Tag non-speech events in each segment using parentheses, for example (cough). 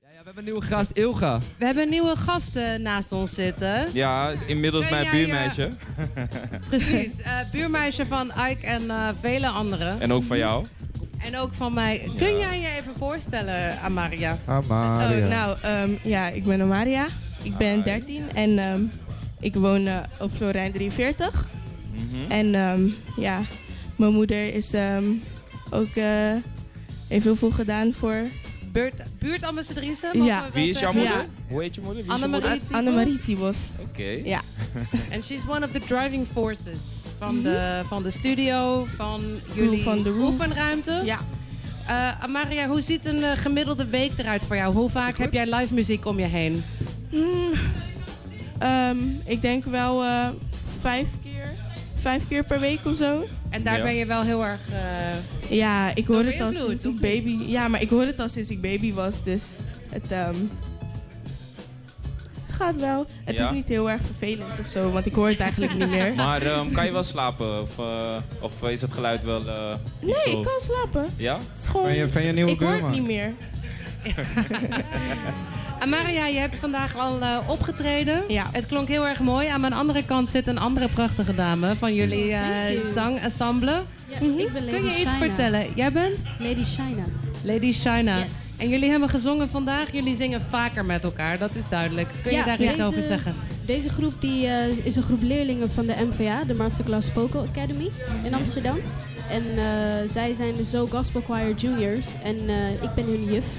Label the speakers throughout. Speaker 1: we hebben een nieuwe gast, Ilga.
Speaker 2: We hebben een nieuwe gast eh, naast ons zitten.
Speaker 3: Ja, is inmiddels
Speaker 2: Kun
Speaker 3: mijn
Speaker 2: jij,
Speaker 3: buurmeisje.
Speaker 2: Precies, eh, buurmeisje van Ike en eh, vele anderen.
Speaker 3: En ook van jou.
Speaker 2: En ook van mij. Kun jij je even voorstellen, Amaria?
Speaker 4: Amaria.
Speaker 5: Oh, nou, ehm, ja, ik ben Amaria. Ik ben
Speaker 3: Hi.
Speaker 5: 13 en ehm, ik woon eh, op Florijn 43.
Speaker 3: Mhm.
Speaker 5: En ehm, ja, mijn moeder is ehm, ook eh, heeft heel veel gedaan voor
Speaker 2: Buurt, buurtambassadrice? mogen
Speaker 5: Ja.
Speaker 2: we wel
Speaker 3: Wie is jouw
Speaker 2: zeggen?
Speaker 3: moeder?
Speaker 5: Ja.
Speaker 3: Hoe heet je moeder? Wie is je moeder?
Speaker 2: Annemarie.
Speaker 5: Annemarie Tibos.
Speaker 3: Oké.
Speaker 5: Ja.
Speaker 2: En she's one of the driving forces van de, van de studio, van jullie
Speaker 5: van de roof.
Speaker 2: oefenruimte.
Speaker 5: ja.
Speaker 2: Eh, Amaria, hoe ziet een eh, gemiddelde week eruit voor jou? Hoe vaak heb jij live muziek om je heen?
Speaker 5: Hmm, ehm, ik denk wel eh, vijf keer. Vijf keer per week of zo.
Speaker 2: En daar
Speaker 3: Ja.
Speaker 2: ben je wel heel erg... eh,
Speaker 5: Ja, ik hoor
Speaker 2: Door
Speaker 5: het al
Speaker 2: invloed,
Speaker 5: sinds
Speaker 2: of niet?
Speaker 5: ik baby. Ja, maar ik hoor het al sinds ik baby was, dus het, ehm, het gaat wel. Het
Speaker 3: Ja?
Speaker 5: is niet heel erg vervelend of zo, want ik hoor het eigenlijk niet
Speaker 3: (laughs)
Speaker 5: meer.
Speaker 3: Maar ehm, kan je wel slapen? Of, eh, of is het geluid wel eh, niet
Speaker 5: Nee,
Speaker 3: zo?
Speaker 5: ik kan Oh. slapen.
Speaker 3: Ja?
Speaker 5: Het is gewoon.
Speaker 4: Van je, van je nieuwe
Speaker 5: ik hoor het
Speaker 4: buurman.
Speaker 5: niet meer.
Speaker 2: Amaria, je hebt vandaag al eh, opgetreden.
Speaker 5: Ja.
Speaker 2: Het klonk heel erg mooi. Aan mijn andere kant zit een andere prachtige dame van jullie
Speaker 6: thank
Speaker 2: eh
Speaker 6: you.
Speaker 2: zangensemble.
Speaker 6: Ja,
Speaker 5: Mhm.
Speaker 6: ik ben Lady
Speaker 2: Kun je iets
Speaker 6: Shina.
Speaker 2: vertellen? Jij bent
Speaker 6: Lady Shina.
Speaker 2: Lady Shina.
Speaker 6: Yes.
Speaker 2: En jullie hebben gezongen vandaag. Jullie zingen vaker met elkaar, dat is duidelijk. Kun je
Speaker 6: Ja,
Speaker 2: daar iets
Speaker 6: deze-
Speaker 2: over zeggen?
Speaker 6: Deze groep die, eh, is een groep leerlingen van de MVA, de Masterclass Vocal Academy in Amsterdam. En eh, zij zijn de Zo Gospel Choir Juniors. En eh, ik ben hun juf. (laughs)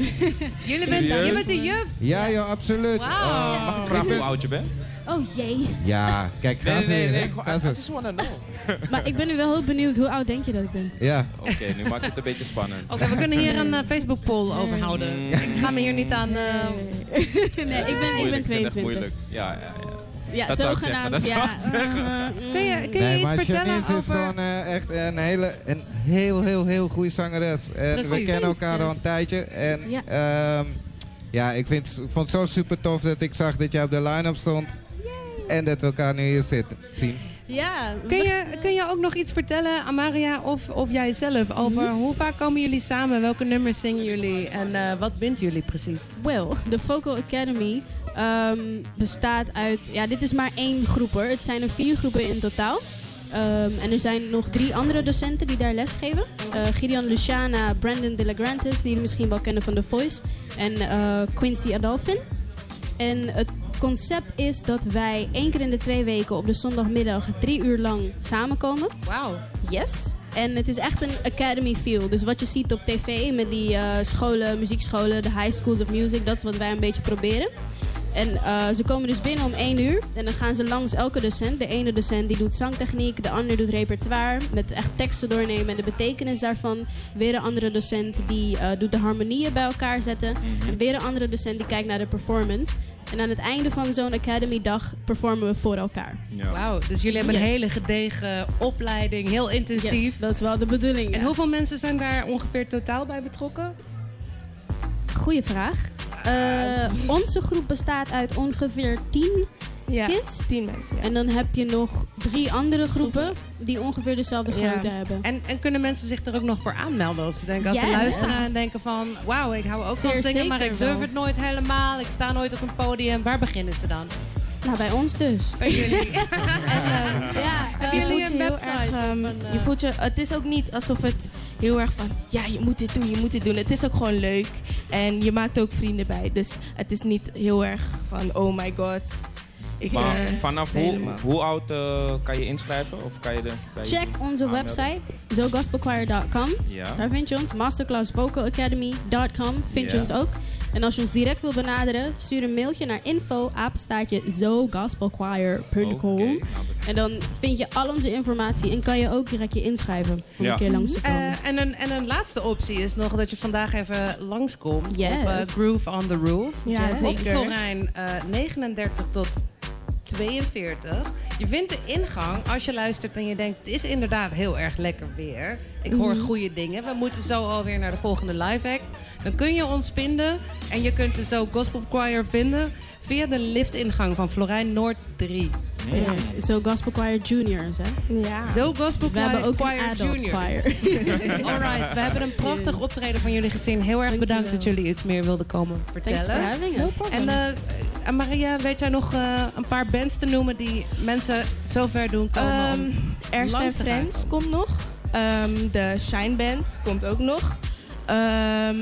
Speaker 2: Jullie bent,
Speaker 3: Serieus?
Speaker 2: je bent de juf.
Speaker 4: Ja, joh, absoluut.
Speaker 2: Wauw.
Speaker 4: Eh,
Speaker 3: Mag ik
Speaker 4: ik
Speaker 3: vragen hoe
Speaker 4: ben-
Speaker 3: oud je bent?
Speaker 6: oh jee.
Speaker 4: Ja, kijk, ga ze weer, hè. Ga ze.
Speaker 3: just wanna know.
Speaker 6: Maar ik ben nu wel heel benieuwd, hoe oud denk je dat ik ben?
Speaker 4: Ja.
Speaker 3: Oké, nu maak je het een beetje spannend.
Speaker 5: Oh,
Speaker 2: Oké, we kunnen hier een eh, Facebook poll over houden.
Speaker 4: Mm.
Speaker 2: Ik ga me hier niet aan. eh,
Speaker 6: nee, ik ben, ik ben
Speaker 3: Moeilijk, vind het
Speaker 6: 22.
Speaker 3: moeilijk. Ja, ja, ja.
Speaker 6: Ja,
Speaker 3: Dat zou ik zeggen, dat
Speaker 6: zogenaamd.
Speaker 3: zou
Speaker 6: ja. Mhm.
Speaker 3: ik zeggen.
Speaker 2: kun je, kun je
Speaker 4: nee,
Speaker 2: iets
Speaker 4: maar
Speaker 2: vertellen
Speaker 4: Janice
Speaker 2: over.
Speaker 4: is gewoon eh, echt een hele, een heel, heel, heel goede zangeres. En we
Speaker 2: Precies.
Speaker 4: kennen elkaar al een tijdje. En
Speaker 6: Ja.
Speaker 4: ja, ja ik, vind, ik vond het zo super tof dat ik zag dat jij op de line-up stond. En dat we elkaar nu hier zitten, zien.
Speaker 6: Ja,
Speaker 2: Kun je, kun je ook nog iets vertellen, Amaria of, of jij zelf, over hoe vaak komen jullie samen? Welke nummers zingen jullie en eh, wat bindt jullie precies?
Speaker 6: Well, de Vocal Academy ehm, bestaat uit... Ja, dit is maar één groep hoor. Het zijn er vier groepen in totaal. Ehm, en er zijn nog drie andere docenten die daar les geven. Eh, Gideon Luciana, Brandon De La Grantis, die jullie misschien wel kennen van The Voice. En eh, Quincy Adolphin. En het concept is dat wij één keer in de twee weken op de zondagmiddag drie uur lang samenkomen.
Speaker 2: Wauw.
Speaker 6: Yes. En het is echt een academy feel. Dus wat je ziet op tv met die eh, scholen, muziekscholen, de high schools of music, dat is wat wij een beetje proberen. En eh, ze komen dus binnen om één uur en dan gaan ze langs elke docent. De ene docent die doet zangtechniek, de ander doet repertoire met echt teksten doornemen en de betekenis daarvan. Weer een andere docent die eh, doet de harmonieën bij elkaar zetten. En weer een andere docent die kijkt naar de performance. En aan het einde van zo'n academy dag performen we voor elkaar.
Speaker 3: Ja.
Speaker 2: Wauw, dus jullie hebben een
Speaker 6: Yes.
Speaker 2: hele gedegen opleiding, heel intensief.
Speaker 6: Yes, dat is wel de bedoeling.
Speaker 2: En
Speaker 6: ja.
Speaker 2: hoeveel mensen zijn daar ongeveer totaal bij betrokken?
Speaker 6: Goeie vraag. Eh, onze groep bestaat uit ongeveer 10
Speaker 5: Ja,
Speaker 6: kids.
Speaker 5: tien mensen. ja.
Speaker 6: En dan heb je nog drie andere groepen die ongeveer dezelfde
Speaker 5: Ja.
Speaker 6: grootte hebben.
Speaker 2: En, en kunnen mensen zich er ook nog voor aanmelden als ze, denken, als ze
Speaker 6: Yes.
Speaker 2: luisteren en denken van... Wauw, ik hou ook van
Speaker 6: Zeer
Speaker 2: zingen, maar
Speaker 6: zeker
Speaker 2: ik durf
Speaker 6: wel.
Speaker 2: het nooit helemaal. Ik sta nooit op een podium. Waar beginnen ze dan?
Speaker 6: Nou, bij ons dus.
Speaker 2: Bij (laughs) jullie.
Speaker 6: Ja,
Speaker 2: Hebben jullie
Speaker 5: je voelt je
Speaker 2: een
Speaker 5: heel
Speaker 2: website
Speaker 5: erg, ehm,
Speaker 2: of een, eh,
Speaker 5: je voelt je, het is ook niet alsof het heel erg van, ja, je moet dit doen, je moet dit doen. Het is ook gewoon leuk en je maakt ook vrienden bij. Dus het is niet heel erg van, oh my god. Ik,
Speaker 3: Maar
Speaker 5: eh,
Speaker 3: vanaf
Speaker 5: het is
Speaker 3: hoe,
Speaker 5: helemaal-
Speaker 3: hoe oud eh, kan je inschrijven? Of kan je er bij
Speaker 6: Check onze
Speaker 3: aanmelden?
Speaker 6: website, zogospelchoir.com.
Speaker 3: Ja.
Speaker 6: Daar vind je ons. Masterclassvocalacademy.com vind
Speaker 3: Ja.
Speaker 6: je ons ook. En als je ons direct wil benaderen, stuur een mailtje naar info apenstaartje
Speaker 3: Oké,
Speaker 6: zogospelchoir.com.
Speaker 3: nou,
Speaker 6: En dan vind je al onze informatie en kan je ook direct je inschrijven om
Speaker 3: Ja.
Speaker 6: een keer langs te komen.
Speaker 2: Eh, en, een, en een laatste optie is nog dat je vandaag even langskomt
Speaker 6: Yes.
Speaker 2: op eh, Groove on the Roof.
Speaker 5: Ja,
Speaker 2: Op
Speaker 5: zeker.
Speaker 2: Florijn eh, 39 tot 42. Je vindt de ingang als je luistert en je denkt... het is inderdaad heel erg lekker weer. Ik hoor
Speaker 5: Mhm.
Speaker 2: goede dingen. We moeten zo alweer naar de volgende live act. Dan kun je ons vinden en je kunt de Zo Gospel Choir vinden... via de liftingang van Florijn Noord 3.
Speaker 6: Ja, het is zo Gospel Choir Juniors, hè?
Speaker 5: Ja.
Speaker 2: Zo Gospel
Speaker 6: We
Speaker 2: Choir,
Speaker 6: hebben ook
Speaker 2: choir
Speaker 6: een adult
Speaker 2: juniors. (laughs)
Speaker 6: choir.
Speaker 2: Alright, we hebben een prachtig
Speaker 6: Yes.
Speaker 2: optreden van jullie gezien. Heel erg bedankt
Speaker 6: Dankjewel.
Speaker 2: dat jullie iets meer wilden komen
Speaker 6: Thanks for
Speaker 2: vertellen.
Speaker 6: having us.
Speaker 2: En eh, eh, Maria, weet jij nog eh, een paar bands te noemen die mensen zo ver doen komen? om-
Speaker 5: Ehm Ernst en
Speaker 2: langs te
Speaker 5: Friends
Speaker 2: gaan.
Speaker 5: komt nog. Ehm, de Shine Band komt ook nog. Ehm,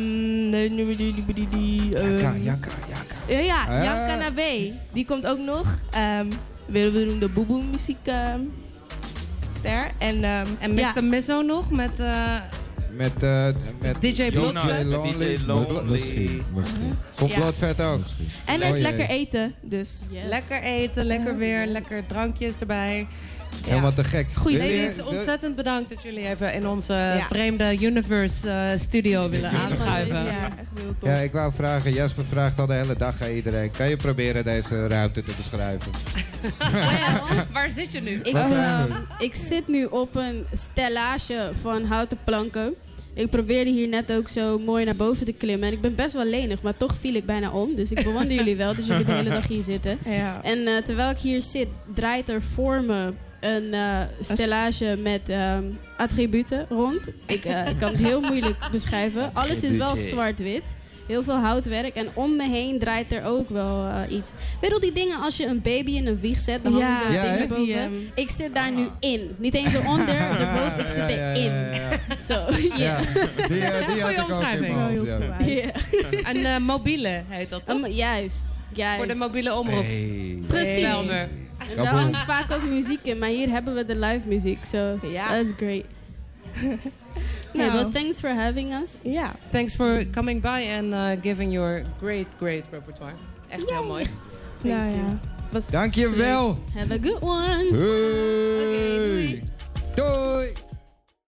Speaker 5: de- nu- die- die- die- die, ehm,
Speaker 4: Janka, Janka, Janka.
Speaker 5: Ja, ja
Speaker 4: Ah.
Speaker 5: Janka Nabé. Die komt ook nog. Ehm willen we doen de Boeboe muziek ehm, ster. En, ehm,
Speaker 2: en Mr.
Speaker 5: ja,
Speaker 2: Mizzo nog met... eh,
Speaker 4: Met, eh met
Speaker 2: DJ
Speaker 3: Jonas,
Speaker 2: Blokflat.
Speaker 3: DJ Lonely.
Speaker 1: Misschien, misschien,
Speaker 4: Komt
Speaker 5: Ja.
Speaker 4: Bloodvet ook.
Speaker 1: misschien.
Speaker 5: en er is
Speaker 4: Oh, jee.
Speaker 5: lekker eten. Dus
Speaker 6: Yes.
Speaker 2: Lekker eten, lekker weer, lekker drankjes erbij.
Speaker 4: Helemaal te gek.
Speaker 6: Goeie
Speaker 4: Wil je-
Speaker 2: Ladies,
Speaker 4: wil-
Speaker 2: ontzettend bedankt dat jullie even in onze vreemde Universe eh, studio willen aanschuiven. (laughs)
Speaker 5: Ja, echt heel tof.
Speaker 4: Ja, ik wou vragen. Jasper vraagt al de hele dag aan iedereen. Kan je proberen deze ruimte te beschrijven?
Speaker 2: Oh Waar zit je nu?
Speaker 6: Ik,
Speaker 1: Waar zijn
Speaker 6: eh, ik zit nu op een stellage van houten planken. Ik probeerde hier net ook zo mooi naar boven te klimmen. En ik ben best wel lenig, maar toch viel ik bijna om. Dus ik bewonder jullie wel, dus jullie de hele dag hier zitten.
Speaker 5: Ja.
Speaker 6: En eh, terwijl ik hier zit, draait er voor me een eh stellage met ehm, attributen rond. Ik eh, kan het heel moeilijk
Speaker 4: (laughs)
Speaker 6: beschrijven. Alles is wel
Speaker 3: Attributen.
Speaker 6: zwart-wit. Heel veel houtwerk. En om me heen draait er ook wel eh, iets. Weet al die dingen als je een baby in een wieg zet? Dan
Speaker 5: Ja.
Speaker 6: hangen ze
Speaker 4: Ja, hè? eh. Ah.
Speaker 6: dingen boven.
Speaker 5: Die, ehm,
Speaker 6: Ik zit daar nu in. Niet eens
Speaker 4: (laughs)
Speaker 6: eronder, erboven. Ik zit
Speaker 4: Ja,
Speaker 6: erin.
Speaker 4: ja, ja, ja, ja.
Speaker 6: (laughs) Zo, ja.
Speaker 4: Ja, die, eh,
Speaker 2: een
Speaker 4: die had
Speaker 2: goede
Speaker 4: ik ook in mijn
Speaker 2: omschrijving.
Speaker 4: hoofd, Oh, ja.
Speaker 6: Ja.
Speaker 2: Een eh, mobiele heet dat, toch?
Speaker 6: Um, juist, juist.
Speaker 2: Voor de mobiele omroep.
Speaker 4: Hey.
Speaker 6: Precies.
Speaker 2: Bel me.
Speaker 6: En
Speaker 4: Kaboom.
Speaker 6: daar hangt vaak ook muziek in, maar hier hebben we de live muziek. So
Speaker 5: Ja.
Speaker 6: that's great.
Speaker 5: Nou.
Speaker 6: Hey, well, thanks for having us.
Speaker 5: Ja.
Speaker 2: Thanks for coming by and uh, giving your great, great repertoire. Echt heel mooi.
Speaker 5: Nou Ja, ja.
Speaker 6: Was
Speaker 4: Dankjewel.
Speaker 6: Have a good one.
Speaker 4: Hey.
Speaker 6: doei.
Speaker 4: Doei.